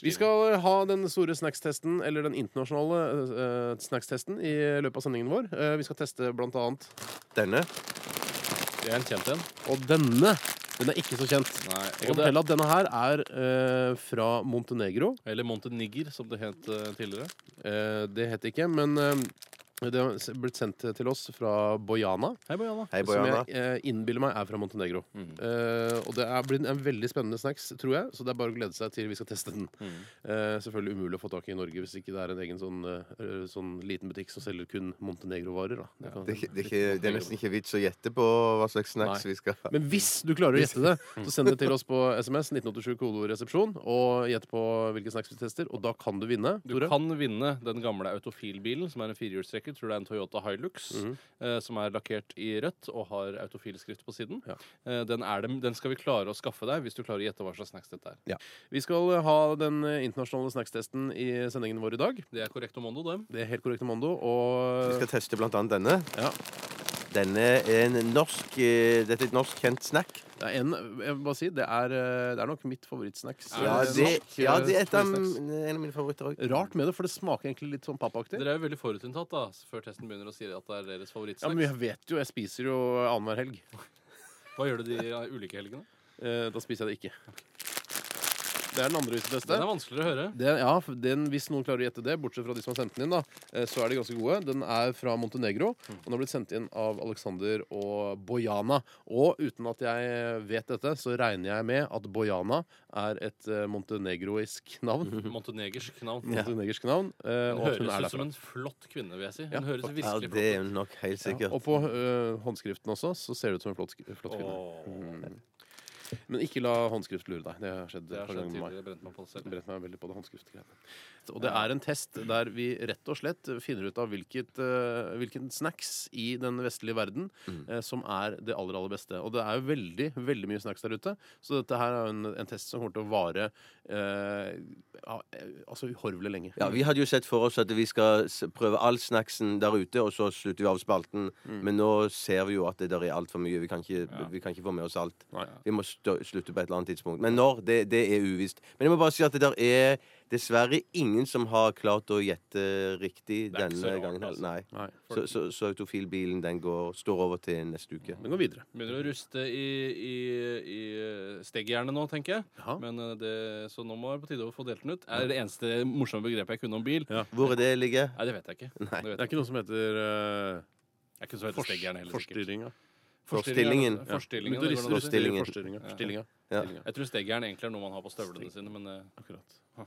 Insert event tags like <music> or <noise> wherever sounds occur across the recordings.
Vi skal ha den store snackstesten, eller den internasjonale eh, snackstesten, i løpet av sendingen vår. Eh, vi skal teste blant annet denne. Det er en kjent en. Og denne. Den er ikke så kjent. Nei, Jeg og kan det, fortelle at denne her er eh, fra Montenegro. eller Montenigger, som det het eh, tidligere. Eh, det het ikke, men eh, det har blitt sendt til oss fra Bojana. Hei, Bojana. Hei, Som Bojana. jeg eh, innbiller meg er fra Montenegro. Eh, og det er blitt en veldig spennende snacks, tror jeg, så det er bare å glede seg til vi skal teste den. Eh, selvfølgelig umulig å få tak i i Norge hvis ikke det er en egen sånn, eh, sånn liten butikk som selger kun Montenegro-varer. da. Det kan- Det er, ikke, det, er ikke, det er nesten ikke vits å gjette på hva slags snacks vi skal ha. Men hvis du klarer å gjette det, så send det til oss på SMS 1987 kodoresepsjon og gjett på hvilke snacks vi tester, og da kan du vinne. Du kan vinne den gamle autofilbilen, som er en firehjulstrekker. Tror det er en Toyota Hilux, Mhm. eh, som er lakkert i rødt og har autofilskrift på siden. Ja. Eh, den, er det, den skal vi klare å skaffe deg hvis du klarer å gjette hva slags snacks dette er. Vi skal ha den eh, internasjonale snackstesten i sendingen vår i dag. Det er korrekt Omondo, det. Det er helt korrekt, Amando. <laughs> Vi Og skal teste blant annet denne. Ja. Denne er en norsk eh, Dette er et norsk kjent snack. det er, en, jeg må bare si, det er, eh, det er nok mitt favorittsnacks. Ja, Ja, Eh, det, norsk, ja, eh, det er et av, favorittsnacks. en av mine favoritter òg. Rart med det, for det smaker egentlig litt sånn pappaktig. Dere er jo veldig forutinntatt da, før testen begynner og sier at det er deres Ja, favorittsnacks. men jeg vet jo, jeg spiser jo annenhver helg. Hva gjør du de eh, ulike helgene? Eh, da spiser jeg det ikke. Det er den andre vi skal teste. Den er vanskeligere å høre. Den, ja, for den, hvis noen klarer å gjette det, bortsett fra de som har sendt den inn, da, eh, så er de ganske gode. Den er fra Montenegro, Mm. og den har blitt sendt inn av Alexander og Bojana. Og uten at jeg vet dette, så regner jeg med at Bojana er et eh, montenegroisk <laughs> navn. Montenegersk navn. Montenegersk navn. eh, Hun og at hun er høres ut som derfra. en flott kvinne, vil jeg si. Hun Ja, høres faktisk. Ja, virkelig det er flott ut. hun nok helt Ja, sikkert. og på eh, håndskriften også, så ser det ut som en flott, flott kvinne. Mm. Åh, Men ikke la håndskrift lure deg. Det har skjedd Det et har par skjedd ganger med meg. tidligere. Brent meg på det Jeg selv. brente meg veldig på det håndskriftgreiene. Og det er en test der vi rett og slett finner ut av hvilket, eh, hvilken snacks i den vestlige verden Mm. eh, som er det aller, aller beste. Og det er jo veldig, veldig mye snacks der ute, så dette her er jo en, en test som kommer til å vare eh, ja, eh, altså uhorvelig lenge. Ja, Vi hadde jo sett for oss at vi skal s- prøve all snacksen der ute, og så slutter vi av spalten. Mm. Men nå ser vi jo at det der er altfor mye. Vi kan, ikke, vi kan ikke få med oss alt. Nei. Vi må stå, slutte på et eller annet tidspunkt. Men når, det, det er uvisst. Men jeg må bare si at det der er dessverre ingen som har klart å gjette riktig Det er ikke så denne rart, gangen. altså. heller. Nei. Nei. Så, så, så autofilbilen den går, står over til neste uke. Den går videre. Begynner å ruste i, i, i steggjernet nå, tenker jeg. Jaha. Men eh, det, så nå må det på tide å få delt den ut. Er det eneste morsomme begrepet jeg kunne om bil? Ja. Hvor er det ligger? Nei, det vet jeg ikke. Det Det vet er jeg ikke. ikke noe som heter uh, Jeg kunne så hete steggeren heller, sikkert. forstyrringa. Forstillingen. Forstillingen, Ja. Forstillingen, Men du det rister går an å også si. Forstillingen. til Forstillingen. Forstillingen. Ja. Forstillingen. Jeg tror steggeren egentlig er noe man har på støvlene sine, men eh, Akkurat. Ja.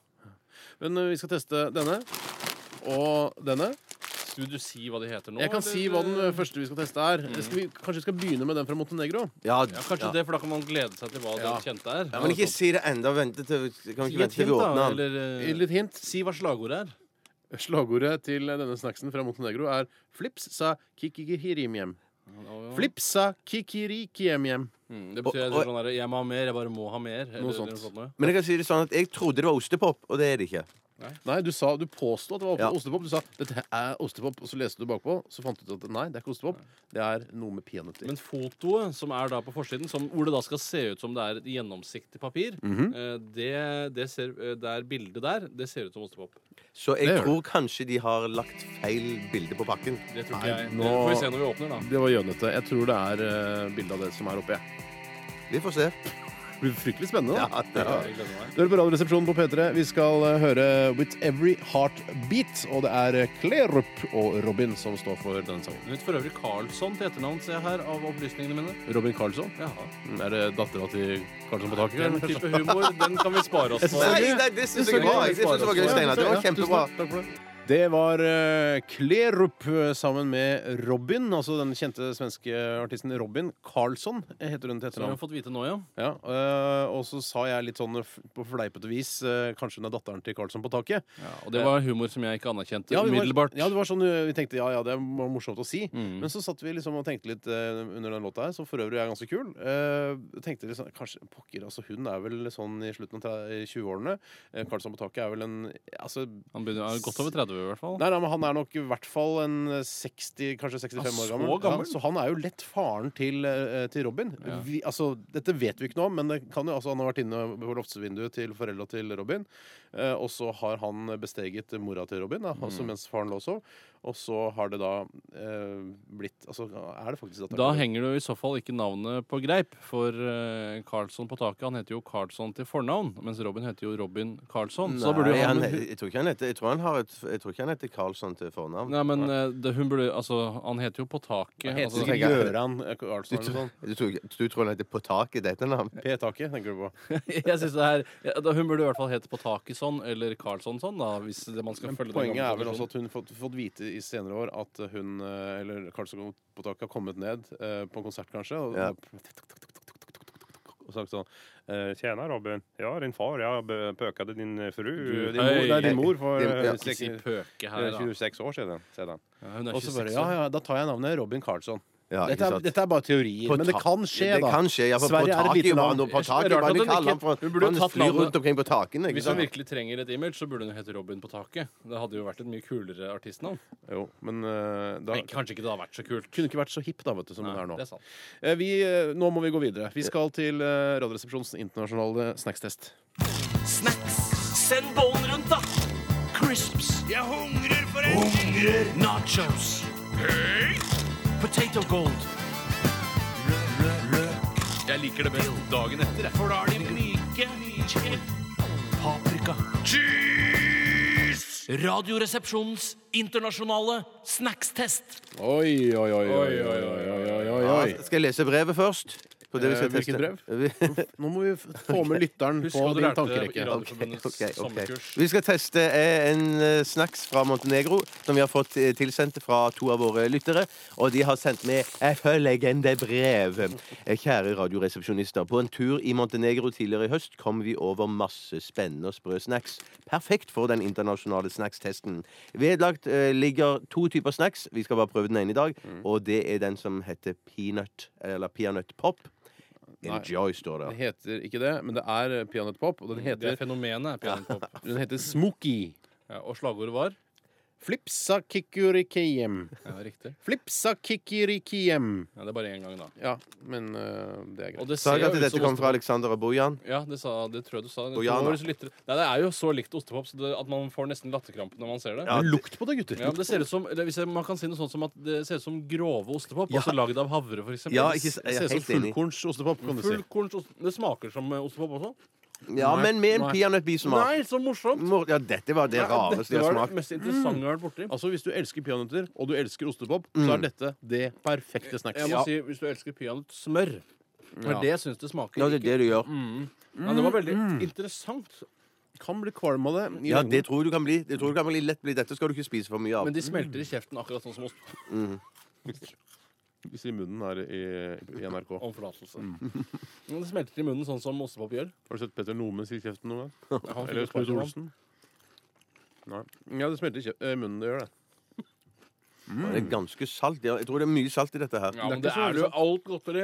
Men eh, vi skal teste denne. Og denne. skulle du si hva de heter nå? Jeg kan si hva den eh, første vi skal teste er. Skal vi, kanskje vi skal begynne med den fra Montenegro? Ja, altså. Ja, kanskje ja. det, for da kan man glede seg til hva Ja. den kjente er. Ja, men ikke si det enda. Vente til, kan Gi vi ikke et vente til vi hint, da, åpner den? eller, eh, Litt hint. Si hva slagordet er. Slagordet til eh, denne snacksen fra Montenegro er Flips sa kikikirimjem. Flips sa kikirikijemjem. Mm, det betyr Og- og- sånn der, jeg må ha mer, jeg bare må ha mer. eller sånt. sånt noe. Men jeg kan si det sånn at jeg trodde det var ostepop, og det er det ikke. Nei, du sa, du påstod at det var Ja. ostepop. Du sa dette er ostepop, og så leste du bakpå, så fant du ut at nei, det er ikke ostepop. Det er noe med peanøtter. Men fotoet som er da på forsiden, som, hvor det da skal se ut som det er et gjennomsiktig papir, eh, det, det, ser, eh, det er bildet der, det ser ut som ostepop. Så Det jeg gjør tror kanskje de har lagt feil bilde på pakken. Det tror ikke Nei, jeg. nå- Det får vi se når vi åpner, da. Det var gjønete. Jeg tror det er uh, bildet av det som er oppe. jeg. Vi får se. Det blir fryktelig spennende. da. Ja, det er. Jeg gleder meg. Du hører på Radioresepsjonen på P3. Vi skal eh, høre With Every Heartbeat, og det er Klerup og Robin som står for denne sangen. Hun heter for øvrig Karlsson til etternavn, ser jeg her, av opplysningene mine. Robin Karlsson? Mm, Jaha. Er det dattera til Karlsson på taket? Den eller? type humor, den kan vi spare oss for. Nei, nei, det syns jeg var Det synes jeg var gøy, Steinar. Det var kjempebra. Det var eh, Klerup eh, sammen med Robin, altså den kjente svenske artisten Robin Karlsson, eh, heter hun til Som vi har etternavn. fått vite nå, ja. Ja, eh, og så sa jeg litt sånn eh, f- på fleipete vis eh, Kanskje hun er datteren til Karlsson på taket. Og det var humor som jeg ikke anerkjente Ja, vi var, umiddelbart. ja, det var sånn eh, vi tenkte ja, ja, det var morsomt å si. Men så satt vi liksom og tenkte litt eh, under den låta her, som for øvrig er ganske kul. Eh, tenkte liksom, kanskje, pokker, altså Hun er vel sånn i slutten av tre- i 20-årene. Eh, Karlsson på taket er vel en altså, Han begynner, er godt over 30 død, i hvert fall. Nei, nei, men Han er nok i hvert fall en 60, kanskje 65 Ah, år så gammel. gammel? Ja, så han er jo lett faren til, eh, til Robin. Ja. Vi, altså, dette vet vi ikke noe om, men det kan jo, altså, han har vært inne på loftsvinduet til foreldra til Robin. Eh, og så har han besteget mora til Robin, da, altså, Mm. mens faren lå og sov. Og så har det da eh, blitt Altså, er det faktisk datteren Da til- henger det jo i så fall ikke navnet på greip, for eh, Carlsson på taket han heter jo Carlsson til fornavn, mens Robin heter jo Robin Carlsson. Sånn, Så da burde Nei, jo han, han, jeg, tror ikke han heter, jeg tror han har et Jeg tror ikke han heter Karlsson til fornavn. Nei, men eh, det, hun burde Altså, han heter jo På taket. Heter Altså, sikkert tenker jeg- Gøran eh, Karlsson Du, eller noe tror- sånt. du, tror, du tror han heter På taket, dette navn? P-taket, tenker du på. <laughs> jeg synes det her ja, da, Hun burde i hvert fall hete På taket sånn, eller Carlsson sånn, da, hvis det, man skal Men følge poenget gamle er vel tradisjonen. også at hun har fått, fått vite i senere år at hun, eh, eller Karlsson på taket, har kommet ned eh, på en konsert, kanskje, og, Ja. og sagt sånn eh, Tjena, Robin. Ja, din far. Jeg bø- pøkade din eh, fru Du- din mor, Hei. Nei, din mor for Din- eh, ja. Ikke si sek- pøke her, eh, da. 26 år siden. siden. Ja, hun er Og så bare 26 Ja, år. ja, da tar jeg navnet Robin Karlsson. Ja, ikke Dette, er- sant? dette er bare teorier, På men det ta- kan skje, det da. kan skje, ja, for Sverige er på et taket lite var land. han på Jeg- taket, det er rart var han at ikke han alle han ikke- for- hun burde han tatt flyr navnet. rundt omkring på takene. Ikke Hvis hun sant? virkelig trenger et image, så burde hun hete Robin på taket. Det hadde jo vært et mye kulere artistnavn. Jo, men eh, da Men Kanskje ikke det hadde vært så kult. kunne ikke vært så hipp da, vet du, som hun Nei, er nå. det er sant. Eh, Vi, eh, nå må vi gå videre. Vi skal til eh, Radioresepsjonens internasjonale snackstest. Snacks. Send bollen rundt, da. Crisps. Jeg hungrer for en Hungrer. Nachos. Potato gold. Jeg liker det best dagen etter. For da er de myke. Paprika. Cheese! Radioresepsjonens internasjonale snackstest. Oi, oi, oi, oi, oi, oi, Ja, skal jeg lese brevet først? På det vi skal Eh, hvilket teste. Nå må vi f- få med lytteren Husk på hva du din lærte i tankerekke. radio. Radioforbundets Ok, ok, ok. sommerkurs. Vi skal teste eh, en eh, snacks fra Montenegro som vi har fått eh, tilsendt fra to av våre lyttere. Og de har sendt med et følgende brev. Eh, Kjære radioresepsjonister. På en tur i Montenegro tidligere i høst kom vi over masse spennende og sprø snacks. Perfekt for den internasjonale snackstesten. Vedlagt eh, ligger to typer snacks. Vi skal bare prøve den ene i dag. Mm. Og det er den som heter peanut, eller peanut pop. Nei. Enjoy, står det. Den heter ikke det, men det er peanøttpop, og den Det er heter, fenomenet. pianopop. den heter Smoky. Ja, og slagordet var? Flipsa kikurikiem. Ja, riktig. Flipsa kikurikiem. Ja, det er bare én gang, da. Ja, men eh, det er greit. Og det Sa ser jeg jo at ut dette som kommer fra ostepop. Alexander Aboyan? Ja, det, sa, det tror jeg du sa. Jeg Og tror Jan, det var da. så lyttere. Nei, det er jo så likt ostepop så det, at man får nesten latterkrampe når man ser det. Ja, Men Lukt på det, gutter. Ja, men det ser ut som, eller hvis jeg, Man kan si noe sånt som at det ser ut som grove ostepop, altså lagd av havre, f.eks. Ja, ikke s- jeg Det ser er ut helt som enig. fullkornsostepop, kan du si. Det smaker som eh, ostepop også. Ja, Nei, men med en nei. peanøttbismak. Nei, så morsomt! Mor- Ja, dette var det rareste Dette jeg har var det smakt. mest interessante jeg har vært borti. Altså, Hvis du elsker peanøtter, og du elsker ostepop, så Mm. er dette det perfekte snacks. Jeg må si, Hvis du elsker peanøttsmør Det er Ja. det jeg syns det smaker. Ja, det er ikke- det du gjør. Ja, det var veldig interessant. Kan bli kvalm av det. i Ja, lengden. det tror jeg du kan bli. Det tror jeg du kan bli lett bli. Dette skal du ikke spise for mye av. Men de smelter i kjeften akkurat sånn som ost. Vi sier munnen her i, i NRK. Om forlatelse. Men det smelter i munnen sånn som ostepop gjør. Har du sett Petter Nome si kjeften noen gang? Han Eller fikk Knut sparken, han. Olsen? Nei. Ja, det smelter i kjef- eh, munnen. Det gjør det. Det er ganske salt. Ja, Jeg tror det er mye salt i dette her. Ja, men Det er ikke det så er jo alt godteri.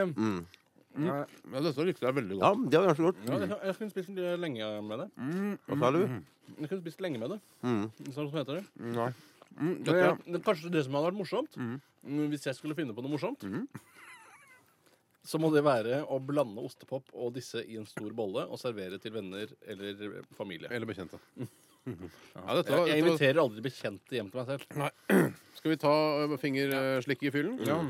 Ja, dette likte jeg veldig Ja, det var ganske godt. Ja, jeg, jeg kunne spist eh, lenge med det. Hva sa du? Jeg kunne spist lenge med det. Sånn som heter det. Nei. Mm, dette, Men, men kanskje det som hadde vært morsomt, mm, hvis jeg skulle finne på noe morsomt Så må det være å blande ostepop og disse i en stor bolle og servere til venner eller familie. Eller bekjente. Ja, dette Jeg, var, jeg dette var, inviterer aldri bekjente hjem til meg selv. skal vi ta eh, fingerslikk i fyllen? Ja,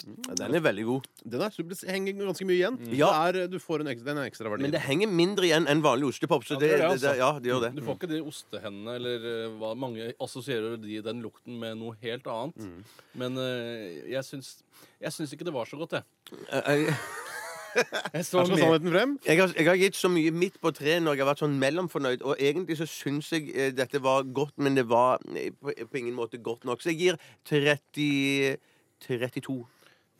Den er veldig god. Den er, det henger ganske mye igjen. Ja. Det er, eh, du får en ekstra, den er ekstra verdi. Men det henger mindre igjen enn vanlig ostepop. Så Ja, det det, gjør det, det, altså. ja, det gjør Du det. får ikke de ostehendene eller eh, hva mange assosierer de, den lukten med noe helt annet. Men eh, jeg syns, jeg syns ikke det var så godt, <laughs> jeg. Jeg, Jeg så Her skal mer- sannheten frem. jeg, har, jeg har gitt så mye midt på treet når jeg har vært sånn mellomfornøyd, og egentlig så syns jeg eh, dette var godt, men det var eh, på, på ingen måte godt nok. Så jeg gir 30 32.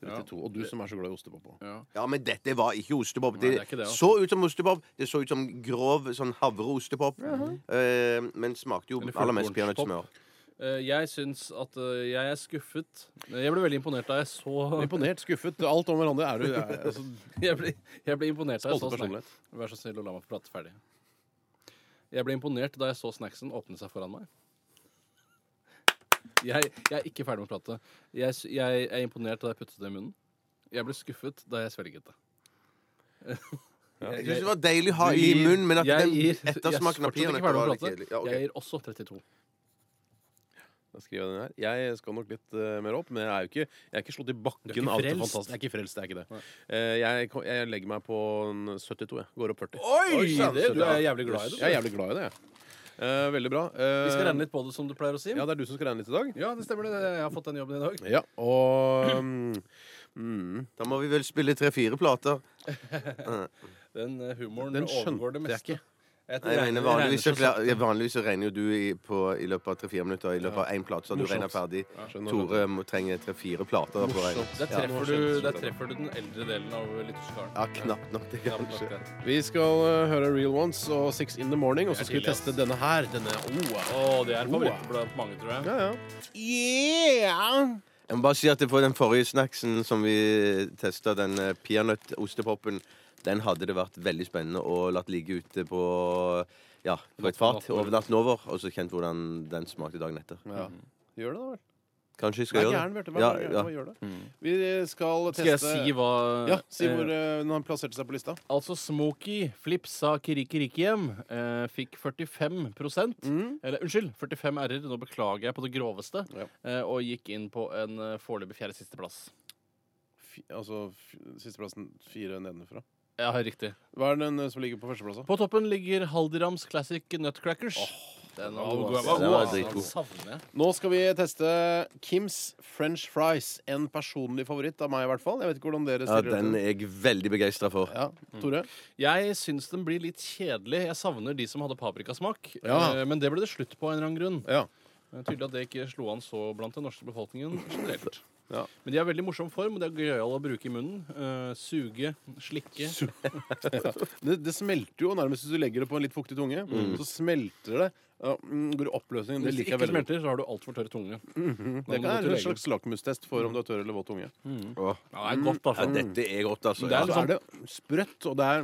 32, og du som er så glad i ostepop. også. ja. Ja, men dette var ikke ostepop. Det, Nei, det er ikke det, altså. så ut som ostepop. Det så ut som grov sånn havreostepop. Eh, men smakte jo Eller aller mest fullkornspop. peanøttsmør. Eh, Jeg syns at eh, jeg er skuffet. Jeg ble veldig imponert da jeg så Imponert, skuffet. Alt om hverandre er du. Er, altså, Jeg ble, jeg ble imponert da jeg Stolte så snack- personlighet. Vær så snill og la meg få prate ferdig. Jeg ble imponert da jeg så snacksen åpne seg foran meg. Jeg, jeg er ikke ferdig med å prate. Jeg, s- jeg er imponert da jeg puttet det i munnen. Jeg ble skuffet da jeg svelget det. Jeg syns det var deilig å ha Du i gir- munnen, men at jeg den gir- jeg er ettersmaken fortsatt av ikke ferdig peanøtter med å var litt prate. kjedelig. Ja, ok. Jeg gir også 32. Da skriver jeg den her. Jeg skal nok litt eh, mer opp, men jeg er jo ikke, jeg er ikke slått i Du er bakken ikke av det frelst. fantastiske. Jeg er ikke frelst, jeg er ikke det. Eh, jeg, ko- jeg legger meg på en 72, jeg. Går opp 40. Oi, sann, det, så du bra. er jævlig glad i Jeg er det. jævlig glad i det, jeg. Eh, veldig bra. Eh, Vi skal regne litt på det, som du pleier å si. Ja, det er du som skal regne litt i dag. Ja, det stemmer det. Jeg har fått den jobben i dag. Ja, og mm, mm, Da må vi vel spille tre-fire plater. Den eh, humoren Den overgår skjønte det jeg meste. ikke. Jeg Nei, jeg mener, regner- vanligvis, så regner klar, ja, vanligvis så regner jo du i, på, i løpet av tre-fire minutter i løpet av én plate, så du Morsomt. regner ferdig. skjønner, Tore må trenge tre-fire plater. på å regne. Der Ja. treffer, du, der treffer du den eldre delen av lytterskaren. Ja, knapt nok det, Knapt nok kanskje. det. vi skal eh, høre Real Ones og Six In The Morning, og så Det er skal vi tidlig, ass. teste denne her. Denne oh, Å, det er favoritt blant mange, tror jeg. ja, ja. Yeah! Jeg må bare si at på den forrige snacksen som vi testa, den eh, peanøttostepopen, den hadde det vært veldig spennende å latt ligge ute på ja, på et fat Natten over. over natten over, og så kjent hvordan den smakte dagen etter. Ja. Mm. Gjør det, da vel. Kanskje jeg Vær skal gjøre gæren, Bjarte. det? Vær Ja, bare gæren. ja. Bare gjør det. Vi eh, skal teste Skal jeg si hva Ja, si hvor eh, eh, når han plasserte seg på lista. Altså, Smoky Flips sa Kirikirikihjem eh, fikk 45 Mm. Eller unnskyld, 45 r-er. Nå beklager jeg på det groveste. Ja. Eh, og gikk inn på en eh, foreløpig fjerde sisteplass. Fi- Altså f- sisteplassen fire nedenfra. Ja, riktig. Hva er den eh, som ligger på førsteplass? da? På toppen ligger Haldirams Classic Nutcrackers. den var god. ass. Den var dritgod. Savner jeg. Nå skal vi teste Kims French fries. En personlig favoritt av meg, i hvert fall. Jeg vet ikke hvordan dere ja, stiller den dere til. er jeg veldig begeistra for. Ja, Tore? Jeg syns den blir litt kjedelig. Jeg savner de som hadde paprikasmak. Ja. Eh, Men det ble det slutt på av en eller annen grunn. Ja. Det er Tydelig at det ikke slo an så blant den norske befolkningen generelt. Ja. Men de har veldig morsom form, og det er gøyal å bruke i munnen. Eh, suge, slikke. <laughs> Det, det smelter jo nærmest hvis du legger det på en litt fuktig tunge. Så smelter det. Ja, mm, går i oppløsning. Det Hvis det liker jeg ikke veldig godt. Mhm. smelter, så har du altfor tørr tunge. Det kan være en slags lakmustest for om du har tørr eller våt tunge. Åh. Ja, det er godt, Ja, altså. Mm. dette er godt, altså. Det er liksom- Og Ja. så er det sprøtt, og det er,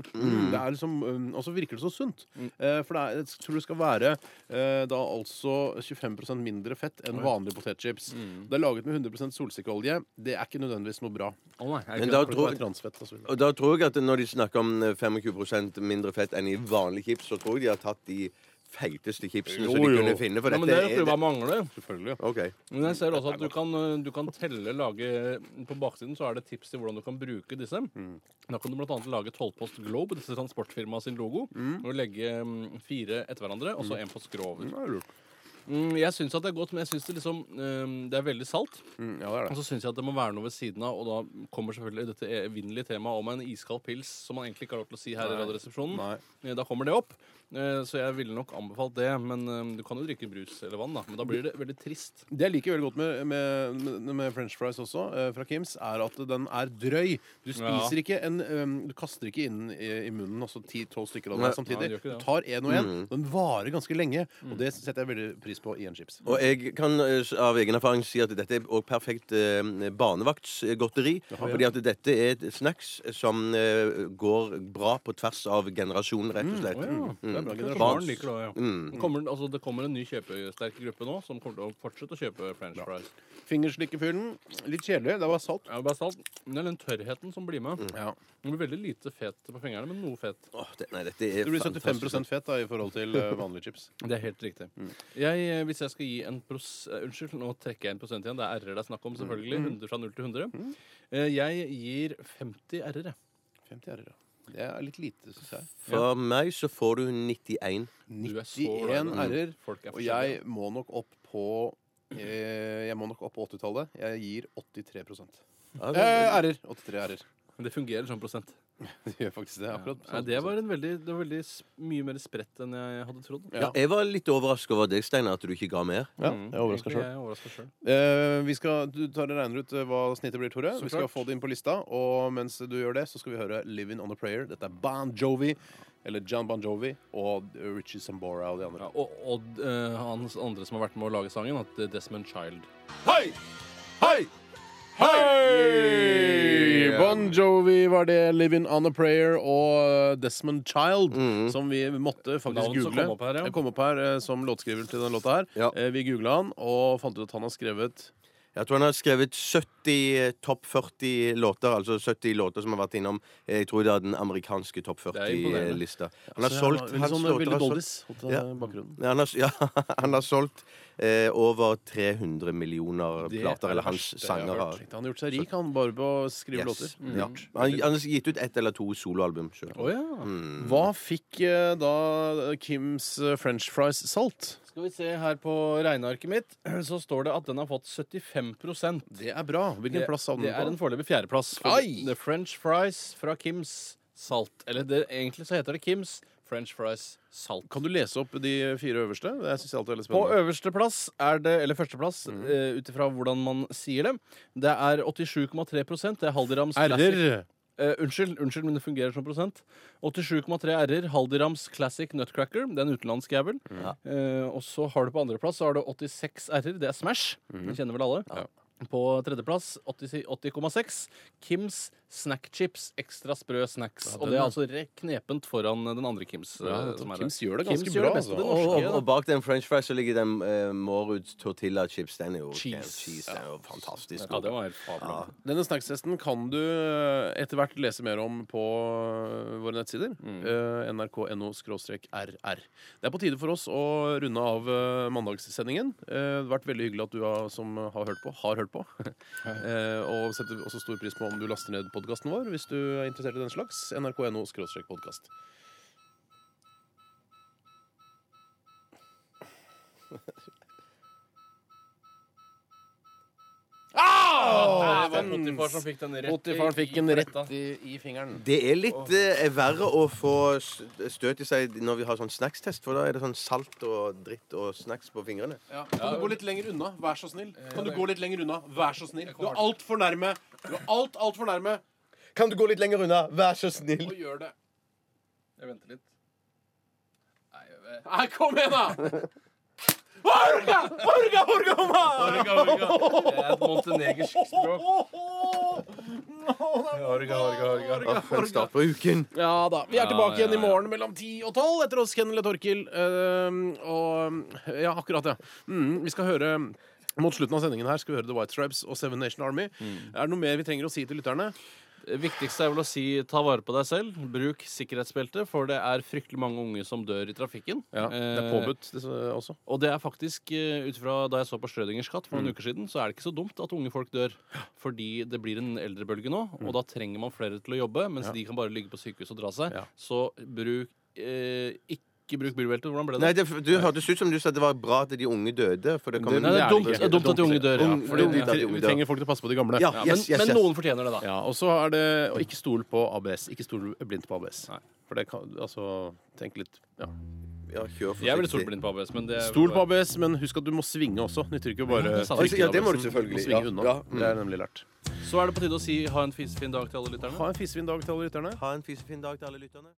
det er liksom um, Og så virker det så sunt. Eh, For det er, jeg tror det skal være eh, da altså 25 mindre fett enn vanlige potetchips. Det er laget med 100 solsikkeolje. Det er ikke nødvendigvis noe bra. Å, nei, jeg er Men ikke- da For det kan tror være transfett altså. og så videre. Og da tror jeg at når de snakker om eh, 25 mindre fett enn i vanlig chips, så tror jeg de har tatt de feiteste chipsene som Jo, de jo. kunne finne. For ja, men dette det er jo er hva mangler. Selvfølgelig. OK. Men jeg ser også at du kan, eh, du kan telle, lage På baksiden så er det tips til hvordan du kan bruke disse. Mm. Da kan du bl.a. lage tolvpost Globe, disse transportfirmaet sin logo, og legge mm, fire etter hverandre, og Mm. så én post grå over. Ja, det er lurt. Mm, Jeg syns at det er godt, men jeg syns det liksom eh, Det er veldig salt. Mm, Ja, det er Og det. så syns jeg at det må være noe ved siden av, og da kommer selvfølgelig dette e, evinnelige temaet om en iskald pils, som man egentlig ikke har lov til å si her i Radioresepsjonen. Nei. Eh, Da kommer det opp. Eh, Så jeg ville nok anbefalt det. Men eh, du kan jo drikke brus eller vann, da. Men da blir det veldig trist. Det jeg liker veldig godt med, med, med, med french fries også, eh, fra Kims, er at den er drøy. Du spiser ikke en eh, Du kaster ikke inn i, i munnen altså 10-12 stykker av Nei. den Nei, samtidig. det Mm. gjør ikke det. Du tar én og én. Mm. Den varer ganske lenge, og det setter jeg veldig pris på i en chips. Og jeg kan eh, s- av egen erfaring si at dette er også perfekt eh, barnevaktsgodteri. Fordi at dette er et snacks som eh, går bra på tvers av generasjoner, rett og slett. Det er Mm. bra Kanskje generasjon. barn liker det, ja. Det kommer, altså, det kommer en ny kjøpesterk gruppe nå som kommer til å fortsette å kjøpe french fries. Fingerslikkefyllen. Litt kjedelig. Det var salt. Ja, det er bare salt. Men det er den tørrheten som blir med. Ja. Det blir veldig lite fet på fingrene, men noe fet. Åh, det, nei, dette er Det blir fantastisk. 75 fett da, i forhold til eh, vanlige chips. Det er helt riktig. Jeg, eh, hvis jeg skal gi en pros... eh, Unnskyld, nå trekker jeg en prosent igjen. Det er r-er det er snakk om, selvfølgelig. 100 fra 0 til 100. Eh, Jeg gir 50 r-er. jeg. 50 ærer, ja. Det er litt lite, syns jeg. For meg så får du 91. Du er så glad i 91 det. ærer. Folk er Og jeg må nok opp på eh, Jeg må nok opp på 80-tallet. Jeg gir 83 Ja, det- eh, Ærer. 83 ærer. <laughs> forskjellige. Det fungerer som prosent. sånn Det gjør faktisk det. akkurat Nei, det var en veldig, det var veldig s- mye mer spredt enn jeg hadde trodd. Ja. Ja, jeg var litt overraska over deg, Steinar, at du ikke ga mer. Mm. Ja, jeg er overraska Egentlig sjøl. er jeg overrasket selv. Eh, vi skal, du tar og regner ut eh, hva snittet blir, Tore. Så Vi skal klart. få det inn på lista. Og mens du gjør det, så skal vi høre 'Living On A Prayer'. Dette er Bon Jovi. Eller John Bon Jovi og Richie Sambora og de andre. Ja, og og eh, han andre som har vært med å lage sangen, at eh, det er Desmond Child. Hei! Hei! Hei! Bon Jovi var det, 'Living On A Prayer', og eh, Desmond Child, som vi måtte faktisk Navn Mm. som google. kom opp her, ja. Jeg kom opp her eh, som låtskriver til den låta her. Ja. Eh, Vi googla han, og fant ut at han har skrevet Jeg tror han har skrevet 70 topp 40 låter, altså 70 låter som har vært innom eh, Jeg tror det er den amerikanske topp Det er imponerende. 40-lista. Han har Så jeg solgt var litt hans sånn låter Billy har solgt- Boldies holdt Ja. jeg i eh, bakgrunnen. Ja, han har, <laughs> ja, han har solgt eh, over 300 millioner Det plater, er eller det hans verste jeg har sanger har. Tenkte Han har gjort seg rik, han, bare på å skrive låter. Mm. Yes. Ja. Han, han har gitt ut ett eller to soloalbum sjøl. Å ja. Hva fikk eh, da Kims eh, french fries salt? Skal vi se her på regnearket mitt, <clears throat> så står det at den har fått 75 Det er bra. Hvilken Det- plass havner Det er den en på? foreløpig fjerdeplass. For Ai! The French fries fra Kims Salt. Eller det, egentlig så heter det Kims French fries Salt. Kan du lese opp de fire øverste? Det syns jeg alltid er veldig På spennende. øverste plass er det, eller førsteplass, Mhm. mm. ut ifra hvordan man sier det, det er 87,3 Det er Haldirams Classic R-er. Eh, unnskyld, unnskyld, men det fungerer som prosent. 87,3 R-er. Haldirams Classic Nutcracker. Det er en utenlandsk jævel. Mm. Eh, og så har du på andreplass så har du 86 R-er. Det er Smash. Mhm. Det kjenner vel alle. På tredjeplass 80 80,6 Kims Snack Chips Ekstra sprø snacks. Ja, og den, det er ja. altså re- knepent foran den andre Kims. eh, Ja, nettopp. som er Kims der. gjør det ganske Kims bra, Gjør det best på altså. det Og, norske, og, og bak den french fries så ligger den eh, Mårud tortilla chips. Den er jo Cheese. cheese den er jo fantastisk. da. Ja, det var helt fabelaktig. Denne snackstesten kan du eh, etter hvert lese mer om på eh, våre nettsider. Eh, nrk.no-rr. Det er på tide for oss å runde av eh, mandagssendingen. Eh, Det har vært veldig hyggelig at du har, som har hørt på, har hørt på. Eh, Og setter også stor pris på om du laster ned podkasten vår hvis du er interessert i den slags. <laughs> nrk.no-podkast. Det var Stens. Potifar som fikk den rett Potifaren i- fikk den rett fletta. i, i fingeren. Det er litt eh, verre å få s- støt i seg når vi har sånn snackstest, for da er det sånn salt og dritt og snacks på fingrene. Kan du gå litt lenger unna? Vær så snill. Kan du gå litt lenger unna? Vær så snill. Du er altfor nærme. Du er alt, altfor nærme. Kan du gå litt lenger unna? Vær så snill. Og gjør det. Jeg venter litt. Nei, jeg vet- Nei, kom igjen, <laughs> da! Orga! Orga, orga, orga! Orga, orga. Det er et montenegersk språk. Orga, orga, orga. Å, for en start på uken. Ja da. Vi er tilbake ja, igjen i ja. morgen mellom 10 og 12 etter oss, Kennel og Torkil. Ehm, og Ja, akkurat, ja. Mm, vi skal høre mot slutten av sendingen her skal vi høre The White Stripes og Seven Nation Army. Er det noe mer vi trenger å si til lytterne? Det viktigste er vel å si ta vare på deg selv. Bruk sikkerhetsbelte, for det er fryktelig mange unge som dør i trafikken. Det er Eh, påbudt det, også. Og det er faktisk, eh, ut fra da jeg så på Schrødingers katt for noen uker siden, så er det ikke så dumt at unge folk dør. Fordi det blir en eldrebølge nå, og da trenger man flere til å jobbe, mens de kan bare ligge på sykehus og dra seg. Ja. Så bruk eh, ikke bruk bilbelte. Hvordan ble det? Nei, det, du hørtes ut som du sa det var bra at de unge døde. For det kom Det- Nei, det er dumt, det er dumt at de unge dør. Ja, Ung- Fordi dumt vi, at de unge vi dør. trenger folk til å passe på de gamle. Ja, Ja, men, yes, yes, men yes. noen fortjener det, da. Ja, og så er det å ikke stole på ABS. Ikke stole blindt på ABS. Nei. For det kan Altså, tenk litt ja. Ja, Jeg kjør ville forsiktig. stolt blind på ABS, men det er Stol på ABS, men husk at du må svinge også. Nytter ikke å bare Ja, det er sant. trykke Ja, det må du ABS-en. må selvfølgelig. liksom svinge Ja, unna. ja, mm. Det er nemlig lært. Så er det på tide å si ha en fisefin dag til alle lytterne. Ha en fisefin dag til alle lytterne. Ha en fisefin dag til alle lytterne.